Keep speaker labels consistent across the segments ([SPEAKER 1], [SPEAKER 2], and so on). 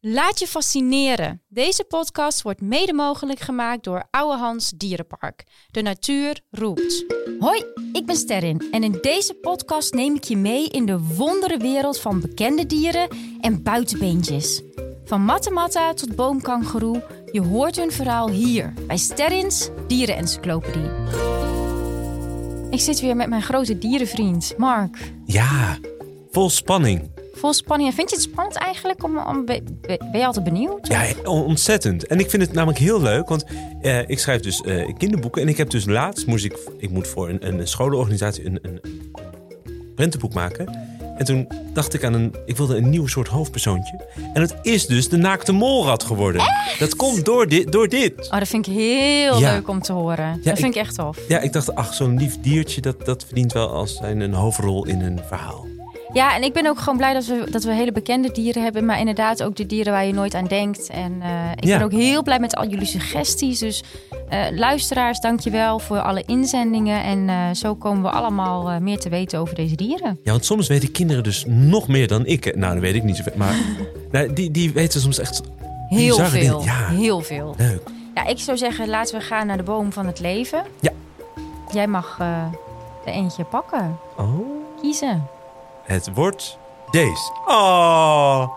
[SPEAKER 1] Laat je fascineren. Deze podcast wordt mede mogelijk gemaakt door Oude Hans Dierenpark. De natuur roept. Hoi, ik ben Sterrin en in deze podcast neem ik je mee in de wondere wereld van bekende dieren en buitenbeentjes. Van mattematta tot boomkangeroe, je hoort hun verhaal hier bij Sterrins Dierenencyclopedie. Ik zit weer met mijn grote dierenvriend Mark.
[SPEAKER 2] Ja, vol spanning.
[SPEAKER 1] Vol spanning. En Vind je het spannend eigenlijk? Om, om- ben ben je altijd benieuwd?
[SPEAKER 2] Ja, on- ontzettend. En ik vind het namelijk heel leuk, want eh, ik schrijf dus eh, kinderboeken. En ik heb dus laatst, moest ik, ik moet voor een, een scholenorganisatie een, een, een prentenboek maken. En toen dacht ik aan een, ik wilde een nieuw soort hoofdpersoontje. En het is dus de naakte molrat geworden. Dat komt door dit, door dit.
[SPEAKER 1] Oh, dat vind ik heel
[SPEAKER 2] Ja.
[SPEAKER 1] leuk om te horen. dat vind ik, echt tof.
[SPEAKER 2] Ja, ik dacht, ach, zo'n lief diertje, dat, dat verdient wel als zijn een hoofdrol in een verhaal.
[SPEAKER 1] Ja, en ik ben ook gewoon blij dat we, dat we hele bekende dieren hebben. Maar inderdaad ook de dieren waar je nooit aan denkt. En eh, ik
[SPEAKER 2] Ja.
[SPEAKER 1] ben ook heel blij met al jullie suggesties. Dus eh luisteraars, dankjewel voor alle inzendingen. En eh, zo komen we allemaal eh, meer te weten over deze dieren.
[SPEAKER 2] Ja, want soms weten kinderen dus nog meer dan ik. hè. Nou, dat weet ik niet zoveel. Maar nou, die, die weten soms echt
[SPEAKER 1] Heel
[SPEAKER 2] Bizarre
[SPEAKER 1] veel.
[SPEAKER 2] dingen, ja.
[SPEAKER 1] Heel veel.
[SPEAKER 2] leuk.
[SPEAKER 1] Ja, ik zou zeggen, laten we gaan naar de boom van het leven.
[SPEAKER 2] Ja.
[SPEAKER 1] Jij mag eh er eentje pakken.
[SPEAKER 2] Oh.
[SPEAKER 1] Kiezen.
[SPEAKER 2] Het wordt deze. Oh.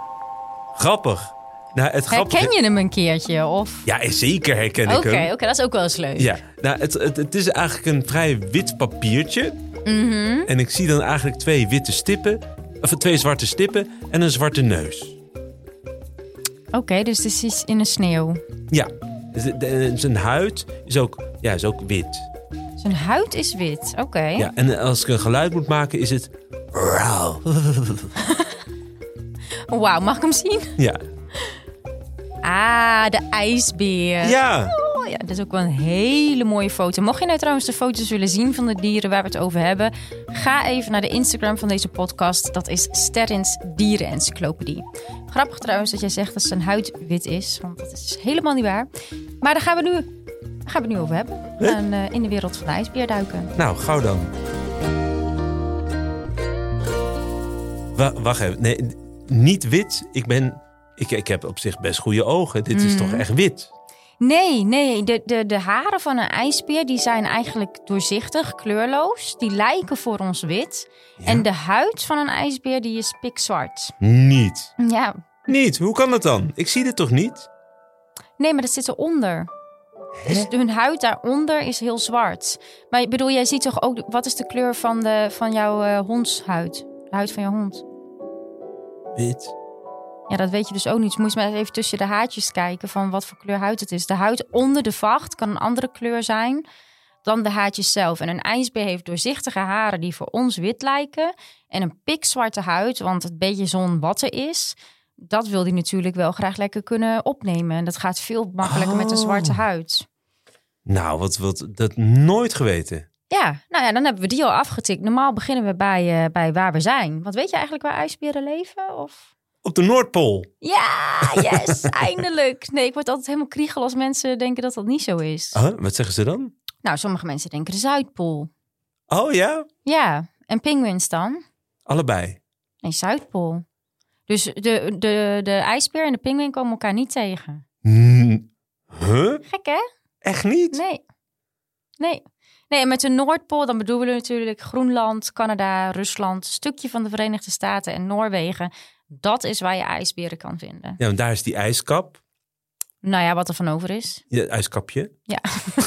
[SPEAKER 2] Grappig. Nou, het grappige...
[SPEAKER 1] Herken je hem een keertje? Of...
[SPEAKER 2] Ja, eh, zeker herken
[SPEAKER 1] Oké,
[SPEAKER 2] ik hem.
[SPEAKER 1] oké, dat is ook wel eens leuk.
[SPEAKER 2] Ja, nou, het, het, het is eigenlijk een vrij wit papiertje.
[SPEAKER 1] Mhm.
[SPEAKER 2] En ik zie dan eigenlijk twee witte stippen. Of twee zwarte stippen en een zwarte neus.
[SPEAKER 1] Oké, dus het is iets in de sneeuw.
[SPEAKER 2] Ja. Z- de- eh, Zijn huid is ook, ja, is ook wit.
[SPEAKER 1] Zijn huid is wit. Oké.
[SPEAKER 2] Ja, en als ik een geluid moet maken is het... Rauw.
[SPEAKER 1] Wauw, mag ik hem zien?
[SPEAKER 2] Ja.
[SPEAKER 1] Ah, de ijsbeer.
[SPEAKER 2] Ja.
[SPEAKER 1] Oh, ja, dat is ook wel een hele mooie foto. Mocht je nou trouwens de foto's willen zien van de dieren waar we het over hebben, ga even naar de Instagram van deze podcast. Dat is Sterrins Dierenencyclopedie. Grappig trouwens dat jij zegt dat zijn huid wit is, want dat is helemaal niet waar. Maar daar gaan we nu, daar gaan we het nu over hebben. We gaan eh, in de wereld van de ijsbeer duiken.
[SPEAKER 2] Nou, gauw dan. Wa- wacht even. Nee, n- niet wit. Ik ben... Ik, ik heb op zich best goede ogen. Dit is toch echt wit?
[SPEAKER 1] Nee, nee. De, de, de haren van een ijsbeer die zijn eigenlijk doorzichtig, kleurloos. Die lijken voor ons wit. En de huid van een ijsbeer die is pikzwart.
[SPEAKER 2] Niet.
[SPEAKER 1] Ja.
[SPEAKER 2] Niet. Hoe kan dat dan? Ik zie dit toch niet?
[SPEAKER 1] Nee, maar dat zit eronder. Dus hun huid daaronder is heel zwart. Maar ik bedoel, jij ziet toch ook... Wat is de kleur van, de, van jouw eh, hondshuid? De huid van jouw hond.
[SPEAKER 2] Wit.
[SPEAKER 1] Ja, dat weet je dus ook niet. Dus Moet je maar even tussen de haartjes kijken van wat voor kleur huid het is. De huid onder de vacht kan een andere kleur zijn dan de haartjes zelf. En een ijsbeer heeft doorzichtige haren die voor ons wit lijken. En een pikzwarte huid, want het beetje zon wat er is... dat wil die natuurlijk wel graag lekker kunnen opnemen. En dat gaat veel makkelijker met een
[SPEAKER 2] Oh.
[SPEAKER 1] zwarte huid.
[SPEAKER 2] Nou, wat, wat, dat nooit geweten.
[SPEAKER 1] Ja, nou ja, dan hebben we die al afgetikt. Normaal beginnen we bij, eh, bij waar we zijn. Want weet je eigenlijk waar ijsberen leven? Of...
[SPEAKER 2] Op de Noordpool.
[SPEAKER 1] Ja, yes, eindelijk. Nee, ik word altijd helemaal kriegel als mensen denken dat dat niet zo is.
[SPEAKER 2] Huh? Wat zeggen ze dan?
[SPEAKER 1] Nou, sommige mensen denken de Zuidpool.
[SPEAKER 2] Oh ja?
[SPEAKER 1] Ja, en pinguïns dan?
[SPEAKER 2] Allebei.
[SPEAKER 1] Nee, Zuidpool. Dus de, de, de ijsbeer en de pinguïn komen elkaar niet tegen.
[SPEAKER 2] N- huh?
[SPEAKER 1] Gek, hè?
[SPEAKER 2] Echt niet?
[SPEAKER 1] Nee. Nee. Nee, en met de Noordpool, dan bedoelen we natuurlijk Groenland, Canada, Rusland, een stukje van de Verenigde Staten en Noorwegen. Dat is waar je ijsberen kan vinden.
[SPEAKER 2] Ja, want daar is die ijskap.
[SPEAKER 1] Nou ja, wat er van over is.
[SPEAKER 2] Ja, ijskapje.
[SPEAKER 1] Ja.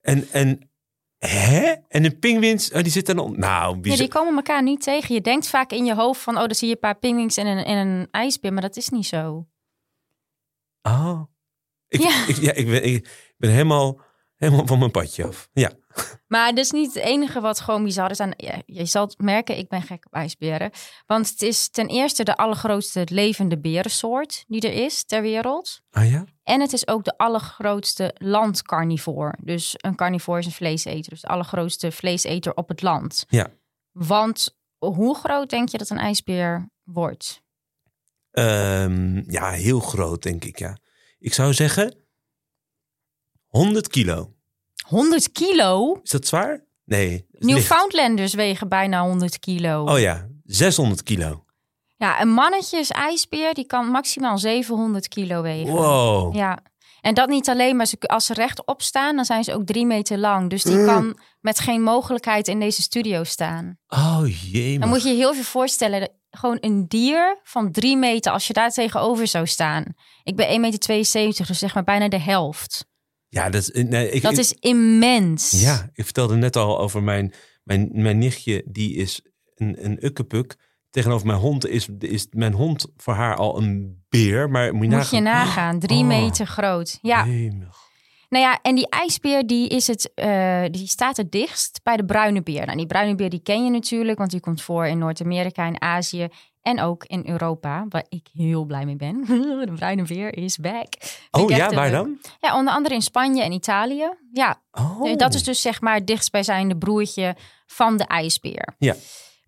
[SPEAKER 2] En, en, hè? En een pinguïns, oh, die zit dan... on- Nou,
[SPEAKER 1] Ja,
[SPEAKER 2] bizar.
[SPEAKER 1] die komen elkaar niet tegen. Je denkt vaak in je hoofd van, oh, dan zie je een paar pinguïns en een, en een ijsbeer, maar dat is niet zo.
[SPEAKER 2] Oh. Ik,
[SPEAKER 1] Ja.
[SPEAKER 2] ja. Ik, ja, ik, ben, ik ben helemaal, helemaal van mijn padje af. Ja.
[SPEAKER 1] Maar dat is niet het enige wat gewoon bizar is aan. ja, Je zal het merken, ik ben gek op ijsberen. Want het is ten eerste de allergrootste levende berensoort die er is ter wereld.
[SPEAKER 2] Ah ja?
[SPEAKER 1] En het is ook de allergrootste landcarnivoor. Dus een carnivoor is een vleeseter. Dus de allergrootste vleeseter op het land.
[SPEAKER 2] Ja.
[SPEAKER 1] Want hoe groot denk je dat een ijsbeer wordt?
[SPEAKER 2] Ehm, ja, heel groot denk ik, ja. Ik zou zeggen 100 kilo.
[SPEAKER 1] 100 kilo?
[SPEAKER 2] Is dat zwaar? Nee. het is licht.
[SPEAKER 1] Newfoundlanders wegen bijna 100 kilo.
[SPEAKER 2] Oh ja, 600 kilo.
[SPEAKER 1] Ja, een mannetjes-ijsbeer die kan maximaal 700 kilo wegen.
[SPEAKER 2] Wow.
[SPEAKER 1] Ja. En dat niet alleen, maar ze, als ze rechtop staan, dan zijn ze ook drie meter lang. Dus
[SPEAKER 2] Eh.
[SPEAKER 1] die kan met geen mogelijkheid in deze studio staan.
[SPEAKER 2] Oh jee.
[SPEAKER 1] Dan
[SPEAKER 2] man.
[SPEAKER 1] moet je je heel veel voorstellen. dat- Gewoon een dier van drie meter, als je daar tegenover zou staan. Ik ben 1,72 meter, dus zeg maar bijna de helft.
[SPEAKER 2] Ja, dat, is- nee, ik,
[SPEAKER 1] Dat is immens.
[SPEAKER 2] Ja, ik vertelde net al over mijn, mijn, mijn nichtje, die is een, een ukkepuk. Tegenover mijn hond is, is mijn hond voor haar al een beer. Maar moet je
[SPEAKER 1] Moet je
[SPEAKER 2] nagaan.
[SPEAKER 1] nagaan, drie
[SPEAKER 2] Oh.
[SPEAKER 1] meter groot. Ja,
[SPEAKER 2] Jemig.
[SPEAKER 1] nou ja, en die ijsbeer die, is het, eh, die staat het dichtst bij de bruine beer. Nou, die bruine beer die ken je natuurlijk, want die komt voor in Noord-Amerika, in Azië en ook in Europa, waar ik heel blij mee ben. de bruine beer is back. Vind
[SPEAKER 2] Oh
[SPEAKER 1] ik echt
[SPEAKER 2] ja,
[SPEAKER 1] heel
[SPEAKER 2] waar
[SPEAKER 1] leuk.
[SPEAKER 2] dan?
[SPEAKER 1] Ja, onder andere in Spanje en Italië. Ja,
[SPEAKER 2] Oh.
[SPEAKER 1] dat is dus zeg maar het dichtstbijzijnde broertje van de ijsbeer.
[SPEAKER 2] Ja.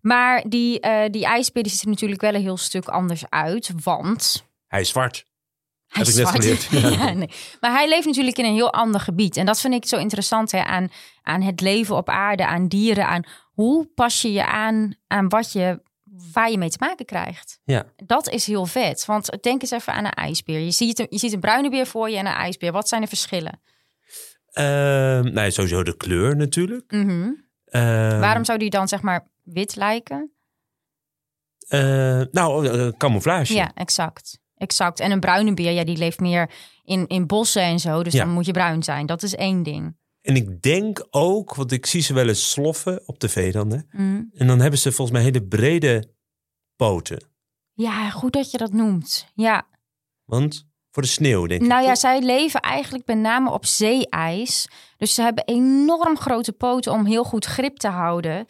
[SPEAKER 1] Maar die, eh, die ijsbeer die ziet er natuurlijk wel een heel stuk anders uit, want
[SPEAKER 2] Hij is zwart.
[SPEAKER 1] hij
[SPEAKER 2] Heb
[SPEAKER 1] is
[SPEAKER 2] ik net
[SPEAKER 1] zwart.
[SPEAKER 2] geleerd. Ja.
[SPEAKER 1] Ja, nee. Maar hij leeft natuurlijk in een heel ander gebied. En dat vind ik zo interessant hè, aan, aan het leven op aarde, aan dieren. Aan hoe pas je je aan aan wat je, waar je mee te maken krijgt.
[SPEAKER 2] Ja.
[SPEAKER 1] Dat is heel vet. Want denk eens even aan een ijsbeer. Je ziet een, je ziet een bruine beer voor je en een ijsbeer. Wat zijn de verschillen?
[SPEAKER 2] Ehm, nou, ja, sowieso de kleur natuurlijk.
[SPEAKER 1] Mhm.
[SPEAKER 2] Ehm,
[SPEAKER 1] Waarom zou die dan zeg maar wit lijken?
[SPEAKER 2] eh, nou, eh, camouflage.
[SPEAKER 1] Ja, exact. Exact. En een bruine beer, ja, die leeft meer in, in bossen en zo. Dus
[SPEAKER 2] Ja.
[SPEAKER 1] dan moet je bruin zijn. Dat is één ding.
[SPEAKER 2] En ik denk ook, want ik zie ze wel eens sloffen op tv dan. Hè?
[SPEAKER 1] Mhm.
[SPEAKER 2] En dan hebben ze volgens mij hele brede poten.
[SPEAKER 1] Ja, goed dat je dat noemt. Ja.
[SPEAKER 2] Want voor de sneeuw, denk ik.
[SPEAKER 1] Nou ja,
[SPEAKER 2] toch?
[SPEAKER 1] zij leven eigenlijk met name op zeeijs. Dus ze hebben enorm grote poten om heel goed grip te houden.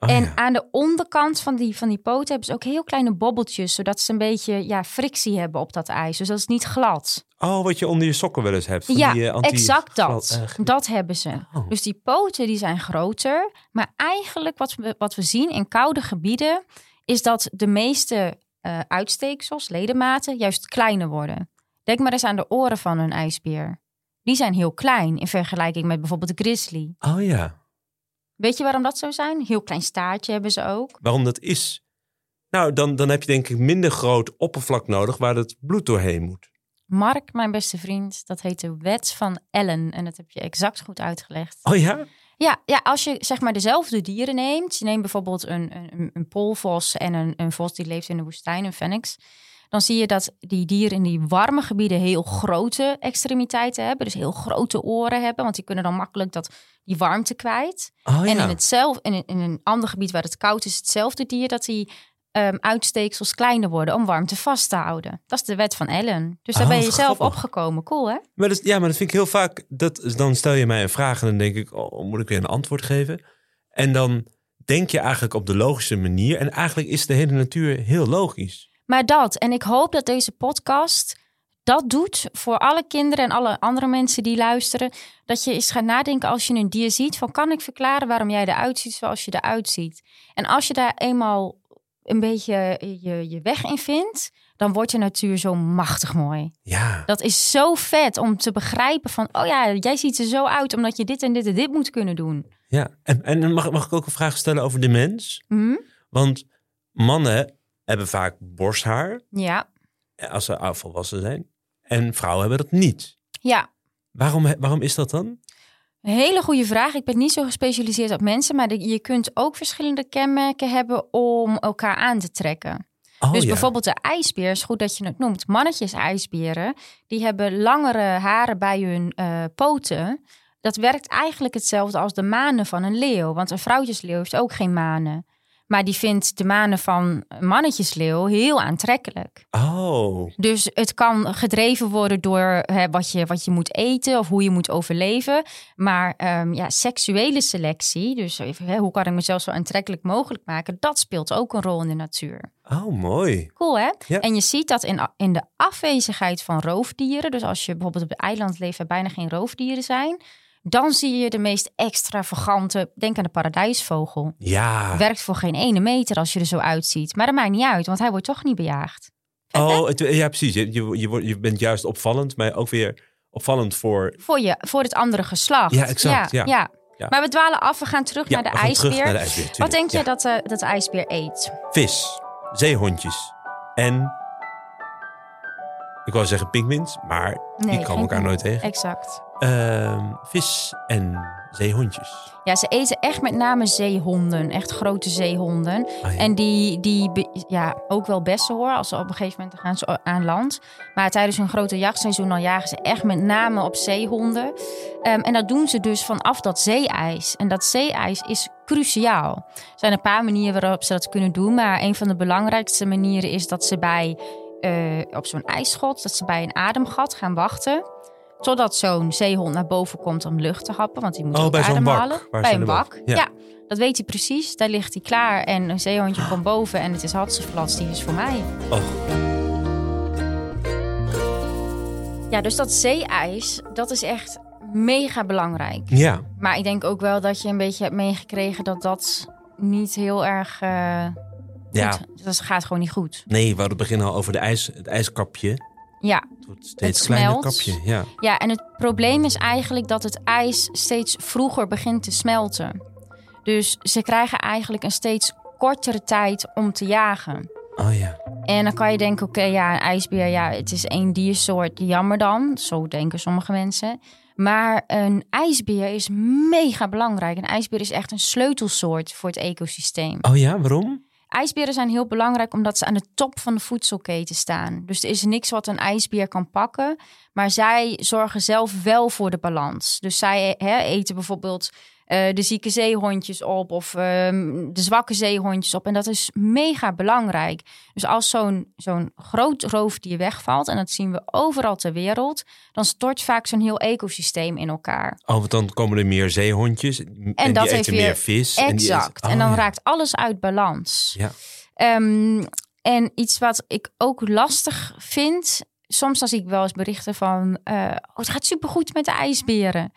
[SPEAKER 2] Oh,
[SPEAKER 1] en
[SPEAKER 2] ja.
[SPEAKER 1] aan de onderkant van die, van die poten hebben ze ook heel kleine bobbeltjes. Zodat ze een beetje ja, frictie hebben op dat ijs. Dus dat is niet glad.
[SPEAKER 2] Oh, wat je onder je sokken wel eens hebt. Van
[SPEAKER 1] ja,
[SPEAKER 2] die, eh, anti-
[SPEAKER 1] exact dat.
[SPEAKER 2] glad, eh, ge-
[SPEAKER 1] dat hebben ze.
[SPEAKER 2] Oh.
[SPEAKER 1] Dus die poten die zijn groter. Maar eigenlijk wat we, wat we zien in koude gebieden... is dat de meeste eh, uitsteeksels, ledematen, juist kleiner worden. Denk maar eens aan de oren van een ijsbeer. Die zijn heel klein in vergelijking met bijvoorbeeld de grizzly.
[SPEAKER 2] Oh ja,
[SPEAKER 1] Weet je waarom dat zo zijn? Heel klein staartje hebben ze ook.
[SPEAKER 2] waarom dat is? Nou, dan, dan heb je denk ik minder groot oppervlak nodig waar het bloed doorheen moet.
[SPEAKER 1] Mark, mijn beste vriend, dat heet de wet van Ellen. En dat heb je exact goed uitgelegd.
[SPEAKER 2] Oh ja?
[SPEAKER 1] Ja, ja, als je zeg maar dezelfde dieren neemt. Je neemt bijvoorbeeld een, een- een, een poolvos en een, een vos die leeft in de woestijn, een fenix. Dan zie je dat die dieren in die warme gebieden heel grote extremiteiten hebben. Dus heel grote oren hebben, want die kunnen dan makkelijk dat, die warmte kwijt.
[SPEAKER 2] Oh
[SPEAKER 1] en in,
[SPEAKER 2] ja.
[SPEAKER 1] hetzelfde, in, een- in een ander gebied waar het koud is, hetzelfde dier dat die ehm, uitsteeksels kleiner worden om warmte vast te houden. Dat is de wet van Ellen. Dus daar
[SPEAKER 2] Oh,
[SPEAKER 1] ben je
[SPEAKER 2] wat
[SPEAKER 1] zelf
[SPEAKER 2] grappig.
[SPEAKER 1] opgekomen. Cool, hè?
[SPEAKER 2] Maar dat, is- ja, maar dat vind ik heel vaak. Dat, is- dan stel je mij een vraag en dan denk ik, oh, moet ik weer een antwoord geven? En dan denk je eigenlijk op de logische manier. En eigenlijk is de hele natuur heel logisch.
[SPEAKER 1] Maar dat, en ik hoop dat deze podcast dat doet voor alle kinderen en alle andere mensen die luisteren. Dat je eens gaat nadenken als je een dier ziet: van kan ik verklaren waarom jij eruit ziet zoals je eruit ziet? En als je daar eenmaal een beetje je, je weg in vindt, dan wordt de natuur zo machtig mooi.
[SPEAKER 2] Ja.
[SPEAKER 1] Dat is zo vet om te begrijpen van, oh ja, jij ziet er zo uit omdat je dit en dit en dit moet kunnen doen.
[SPEAKER 2] ja. En, en mag, mag ik ook een vraag stellen over de mens?
[SPEAKER 1] Hm?
[SPEAKER 2] Want mannen hebben vaak borsthaar
[SPEAKER 1] Ja,
[SPEAKER 2] als ze volwassen zijn. En vrouwen hebben dat niet.
[SPEAKER 1] ja.
[SPEAKER 2] Waarom, he- waarom is dat dan?
[SPEAKER 1] Een Hele goede vraag. Ik ben niet zo gespecialiseerd op mensen, maar de- je kunt ook verschillende kenmerken hebben om elkaar aan te trekken.
[SPEAKER 2] Oh,
[SPEAKER 1] dus
[SPEAKER 2] ja.
[SPEAKER 1] bijvoorbeeld de ijsbeer, is goed dat je het noemt. Mannetjes-ijsberen, die hebben langere haren bij hun eh, poten. Dat werkt eigenlijk hetzelfde als de manen van een leeuw, want een vrouwtjesleeuw heeft ook geen manen. Maar die vindt de manen van een mannetjesleeuw heel aantrekkelijk.
[SPEAKER 2] Oh,
[SPEAKER 1] Dus het kan gedreven worden door hè, wat, je, wat je moet eten of hoe je moet overleven. Maar ehm, ja, seksuele selectie, dus even, hè, hoe kan ik mezelf zo aantrekkelijk mogelijk maken, dat speelt ook een rol in de natuur.
[SPEAKER 2] oh mooi.
[SPEAKER 1] Cool hè?
[SPEAKER 2] Ja.
[SPEAKER 1] En je ziet dat in, a- in de afwezigheid van roofdieren, dus als je bijvoorbeeld op het eiland leeft waar bijna geen roofdieren zijn, dan zie je de meest extravagante, denk aan de paradijsvogel.
[SPEAKER 2] Ja.
[SPEAKER 1] Werkt voor geen ene meter als je er zo uitziet. Maar dat maakt niet uit, want hij wordt toch niet bejaagd.
[SPEAKER 2] Oh, het- ja, precies. Je, je, je, wordt- je bent juist opvallend, maar ook weer opvallend voor.
[SPEAKER 1] voor, je, voor het andere geslacht.
[SPEAKER 2] Ja, exact, ja. Ja.
[SPEAKER 1] Maar we dwalen af, we gaan terug
[SPEAKER 2] Ja,
[SPEAKER 1] naar de
[SPEAKER 2] we gaan
[SPEAKER 1] ijsbeer.
[SPEAKER 2] terug naar de ijsbeer,
[SPEAKER 1] Wat
[SPEAKER 2] tuurlijk.
[SPEAKER 1] denk je
[SPEAKER 2] Ja.
[SPEAKER 1] dat, eh, dat de ijsbeer eet?
[SPEAKER 2] Vis, zeehondjes. en... Ik wou zeggen pinguïns, maar
[SPEAKER 1] Nee,
[SPEAKER 2] die
[SPEAKER 1] geen
[SPEAKER 2] komen elkaar
[SPEAKER 1] pink-
[SPEAKER 2] nooit tegen.
[SPEAKER 1] Exact.
[SPEAKER 2] Ehm, vis en zeehondjes.
[SPEAKER 1] Ja, ze eten echt met name zeehonden. Echt grote zeehonden.
[SPEAKER 2] Ah, ja.
[SPEAKER 1] En die, die be- ja, ook wel bessen hoor. Als ze op een gegeven moment gaan ze aan land. Maar tijdens hun grote jachtseizoen dan jagen ze echt met name op zeehonden. Ehm, en dat doen ze dus vanaf dat zeeijs. En dat zeeijs is cruciaal. Er zijn een paar manieren waarop ze dat kunnen doen. Maar een van de belangrijkste manieren is dat ze bij, eh, op zo'n ijsschot, dat ze bij een ademgat gaan wachten. Totdat zo'n zeehond naar boven komt om lucht te happen. Want die moet
[SPEAKER 2] Oh,
[SPEAKER 1] ook
[SPEAKER 2] bij zo'n bak.
[SPEAKER 1] ademhalen.
[SPEAKER 2] Waar
[SPEAKER 1] Bij
[SPEAKER 2] ze
[SPEAKER 1] een
[SPEAKER 2] naar
[SPEAKER 1] bak.
[SPEAKER 2] boven-
[SPEAKER 1] Ja.
[SPEAKER 2] ja.
[SPEAKER 1] dat weet hij precies. Daar ligt hij klaar. En een
[SPEAKER 2] Ah.
[SPEAKER 1] zeehondje komt boven. En het is Hatseflats, die is voor mij.
[SPEAKER 2] Oh,
[SPEAKER 1] Ja, dus dat zeeijs, dat is echt mega belangrijk.
[SPEAKER 2] ja.
[SPEAKER 1] Maar ik denk ook wel dat je een beetje hebt meegekregen dat dat niet heel erg. eh,
[SPEAKER 2] Ja,
[SPEAKER 1] goed- Dat gaat gewoon niet goed.
[SPEAKER 2] nee, we hadden het begin al over de ijs, het ijskapje.
[SPEAKER 1] Ja.
[SPEAKER 2] Het wordt steeds
[SPEAKER 1] Het
[SPEAKER 2] kleiner
[SPEAKER 1] smelt.
[SPEAKER 2] kapje. Ja.
[SPEAKER 1] ja, en het probleem is eigenlijk dat het ijs steeds vroeger begint te smelten. Dus ze krijgen eigenlijk een steeds kortere tijd om te jagen.
[SPEAKER 2] Oh ja.
[SPEAKER 1] En dan kan je denken, oké, ja, een ijsbeer, ja, het is één diersoort, jammer dan. Zo denken sommige mensen. Maar een ijsbeer is mega belangrijk. Een ijsbeer is echt een sleutelsoort voor het ecosysteem.
[SPEAKER 2] Oh ja, waarom?
[SPEAKER 1] Ijsberen zijn heel belangrijk omdat ze aan de top van de voedselketen staan. Dus er is niks wat een ijsbeer kan pakken. Maar zij zorgen zelf wel voor de balans. Dus zij hè, eten bijvoorbeeld eh, de zieke zeehondjes op of ehm, de zwakke zeehondjes op. En dat is mega belangrijk. Dus als zo'n zo'n groot roofdier wegvalt, en dat zien we overal ter wereld, dan stort vaak zo'n heel ecosysteem in elkaar.
[SPEAKER 2] Oh, want dan komen er meer zeehondjes. En,
[SPEAKER 1] dat
[SPEAKER 2] die
[SPEAKER 1] heeft
[SPEAKER 2] eten
[SPEAKER 1] weer-
[SPEAKER 2] meer vis. en die
[SPEAKER 1] Exact.
[SPEAKER 2] eten-
[SPEAKER 1] en
[SPEAKER 2] Oh,
[SPEAKER 1] dan
[SPEAKER 2] ja.
[SPEAKER 1] raakt alles uit balans.
[SPEAKER 2] Ja.
[SPEAKER 1] Ehm, en iets wat ik ook lastig vind. Soms dan zie ik wel eens berichten van... eh, oh, het gaat supergoed met de ijsberen.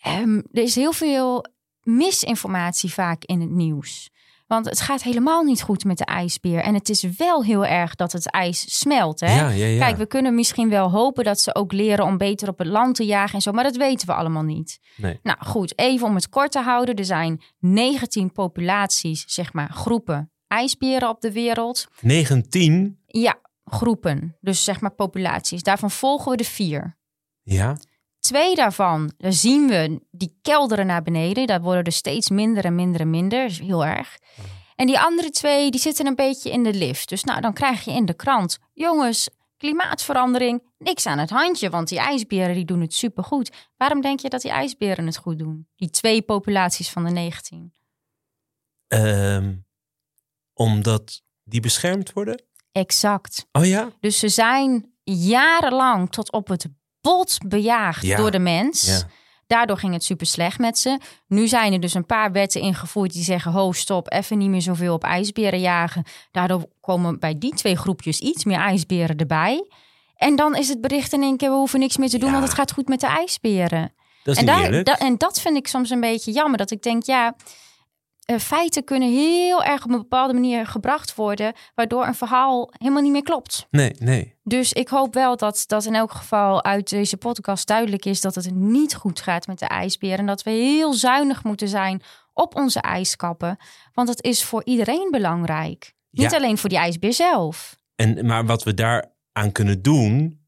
[SPEAKER 1] Ehm, er is heel veel misinformatie vaak in het nieuws. Want het gaat helemaal niet goed met de ijsbeer. En het is wel heel erg dat het ijs smelt. Hè?
[SPEAKER 2] Ja, ja, ja.
[SPEAKER 1] Kijk, we kunnen misschien wel hopen dat ze ook leren om beter op het land te jagen en zo, maar dat weten we allemaal niet.
[SPEAKER 2] Nee.
[SPEAKER 1] Nou goed, even om het kort te houden. Er zijn 19 populaties, zeg maar groepen ijsberen op de wereld.
[SPEAKER 2] 19.
[SPEAKER 1] Ja, groepen, dus zeg maar populaties. Daarvan volgen we de vier.
[SPEAKER 2] Ja.
[SPEAKER 1] Twee daarvan, daar zien we die kelderen naar beneden. Daar worden er steeds minder en minder en minder. Dat is heel erg. En die andere twee, die zitten een beetje in de lift. Dus nou, dan krijg je in de krant... Jongens, klimaatverandering, niks aan het handje. Want die ijsberen, die doen het supergoed. Waarom denk je dat die ijsberen het goed doen? Die twee populaties van de 19.
[SPEAKER 2] Ehm, omdat die beschermd worden.
[SPEAKER 1] Exact.
[SPEAKER 2] Oh ja.
[SPEAKER 1] Dus ze zijn jarenlang tot op het bot bejaagd
[SPEAKER 2] Ja.
[SPEAKER 1] door de mens.
[SPEAKER 2] Ja.
[SPEAKER 1] Daardoor ging het super slecht met ze. Nu zijn er dus een paar wetten ingevoerd die zeggen: ho, stop, even niet meer zoveel op ijsberen jagen. Daardoor komen bij die twee groepjes iets meer ijsberen erbij. En dan is het bericht in één keer: we hoeven niks meer te doen,
[SPEAKER 2] Ja.
[SPEAKER 1] want het gaat goed met de ijsberen.
[SPEAKER 2] Dat is
[SPEAKER 1] en,
[SPEAKER 2] niet
[SPEAKER 1] daar-
[SPEAKER 2] eerlijk.
[SPEAKER 1] da- en dat vind ik soms een beetje jammer. Dat ik denk: ja, eh, feiten kunnen heel erg op een bepaalde manier gebracht worden, waardoor een verhaal helemaal niet meer klopt.
[SPEAKER 2] Nee, nee.
[SPEAKER 1] Dus ik hoop wel dat, dat in elk geval uit deze podcast duidelijk is dat het niet goed gaat met de ijsbeer. En dat we heel zuinig moeten zijn op onze ijskappen. Want dat is voor iedereen belangrijk.
[SPEAKER 2] Ja.
[SPEAKER 1] Niet alleen voor die ijsbeer zelf.
[SPEAKER 2] En, maar wat we daaraan kunnen doen,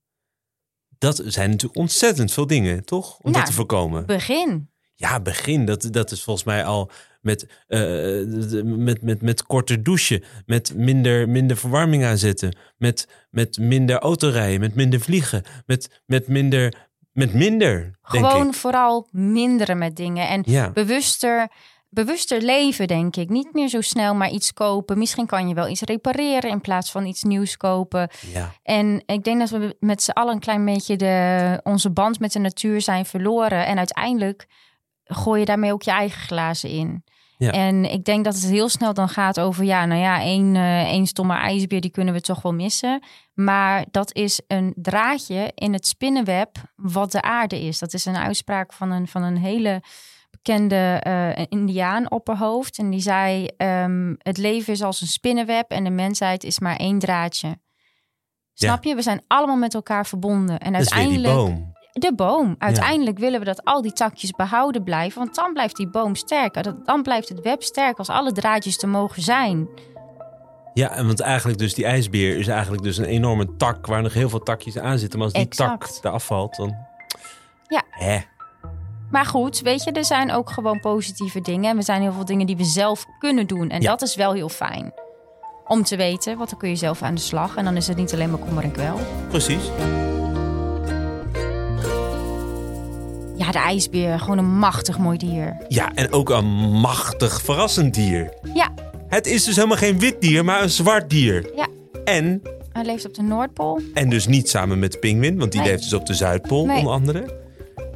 [SPEAKER 2] dat zijn natuurlijk ontzettend veel dingen, toch? Om
[SPEAKER 1] Nou,
[SPEAKER 2] dat te voorkomen.
[SPEAKER 1] Begin.
[SPEAKER 2] Ja, begin. Dat, dat is volgens mij al met, eh, de- met, met, met korter douchen, met minder, minder verwarming aanzetten, met, met minder autorijden, met minder vliegen, met, met minder, met minder, denk
[SPEAKER 1] Gewoon
[SPEAKER 2] ik.
[SPEAKER 1] vooral minderen met dingen. En
[SPEAKER 2] Ja,
[SPEAKER 1] bewuster, bewuster leven, denk ik. Niet meer zo snel maar iets kopen. Misschien kan je wel iets repareren in plaats van iets nieuws kopen.
[SPEAKER 2] ja,
[SPEAKER 1] En ik denk dat we met z'n allen een klein beetje de, onze band met de natuur zijn verloren. En uiteindelijk gooi je daarmee ook je eigen glazen in.
[SPEAKER 2] Ja.
[SPEAKER 1] En ik denk dat het heel snel dan gaat over, ja, nou ja, één, eh, één stomme ijsbeer, die kunnen we toch wel missen. Maar dat is een draadje in het spinnenweb wat de aarde is. Dat is een uitspraak van een, van een hele bekende eh indiaan opperhoofd. En die zei, ehm, het leven is als een spinnenweb en de mensheid is maar één draadje. Snap je? We zijn allemaal met elkaar verbonden. En
[SPEAKER 2] dat is weer die
[SPEAKER 1] uiteindelijk
[SPEAKER 2] boom.
[SPEAKER 1] de boom. Uiteindelijk willen we dat al die takjes behouden blijven. Want dan blijft die boom sterker. Dat- Dan blijft het web sterk als alle draadjes er mogen zijn.
[SPEAKER 2] Ja, en want eigenlijk dus die ijsbeer is eigenlijk dus een enorme tak waar nog heel veel takjes aan zitten. Maar als die
[SPEAKER 1] Exact.
[SPEAKER 2] tak eraf valt, dan...
[SPEAKER 1] Ja.
[SPEAKER 2] Hè?
[SPEAKER 1] Maar goed, weet je, er zijn ook gewoon positieve dingen. En er zijn heel veel dingen die we zelf kunnen doen. En
[SPEAKER 2] Ja.
[SPEAKER 1] dat is wel heel fijn. Om te weten, want dan kun je zelf aan de slag. En dan is het niet alleen maar kommer en kwel.
[SPEAKER 2] Precies.
[SPEAKER 1] Ja, de ijsbeer. Gewoon een machtig mooi dier.
[SPEAKER 2] Ja, en ook een machtig verrassend dier.
[SPEAKER 1] Ja,
[SPEAKER 2] Het is dus helemaal geen wit dier, maar een zwart dier.
[SPEAKER 1] ja.
[SPEAKER 2] En,
[SPEAKER 1] Hij leeft op de Noordpool.
[SPEAKER 2] en dus niet samen met de pinguïn, want die
[SPEAKER 1] Nee.
[SPEAKER 2] leeft dus op de Zuidpool
[SPEAKER 1] Nee.
[SPEAKER 2] onder andere.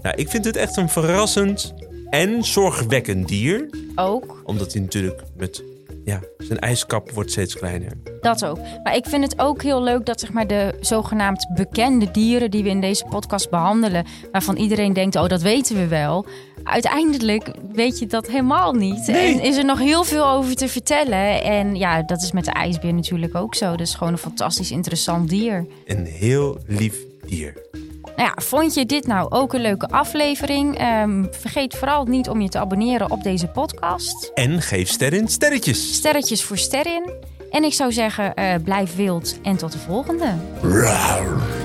[SPEAKER 2] Nou, ik vind het echt een verrassend en zorgwekkend dier.
[SPEAKER 1] Ook.
[SPEAKER 2] Omdat hij natuurlijk met... Ja, zijn ijskap wordt steeds kleiner.
[SPEAKER 1] Dat ook. Maar ik vind het ook heel leuk dat zeg maar, de zogenaamd bekende dieren die we in deze podcast behandelen, waarvan iedereen denkt, oh dat weten we wel. Uiteindelijk weet je dat helemaal niet.
[SPEAKER 2] Nee.
[SPEAKER 1] En is er nog heel veel over te vertellen. En ja, dat is met de ijsbeer natuurlijk ook zo. Dat is gewoon een fantastisch interessant dier.
[SPEAKER 2] Een heel lief dier.
[SPEAKER 1] Nou ja, vond je dit nou ook een leuke aflevering? Ehm, vergeet vooral niet om je te abonneren op deze podcast.
[SPEAKER 2] En geef sterren sterretjes.
[SPEAKER 1] Sterretjes voor sterren. En ik zou zeggen, eh, blijf wild en tot de volgende.
[SPEAKER 2] Rawr.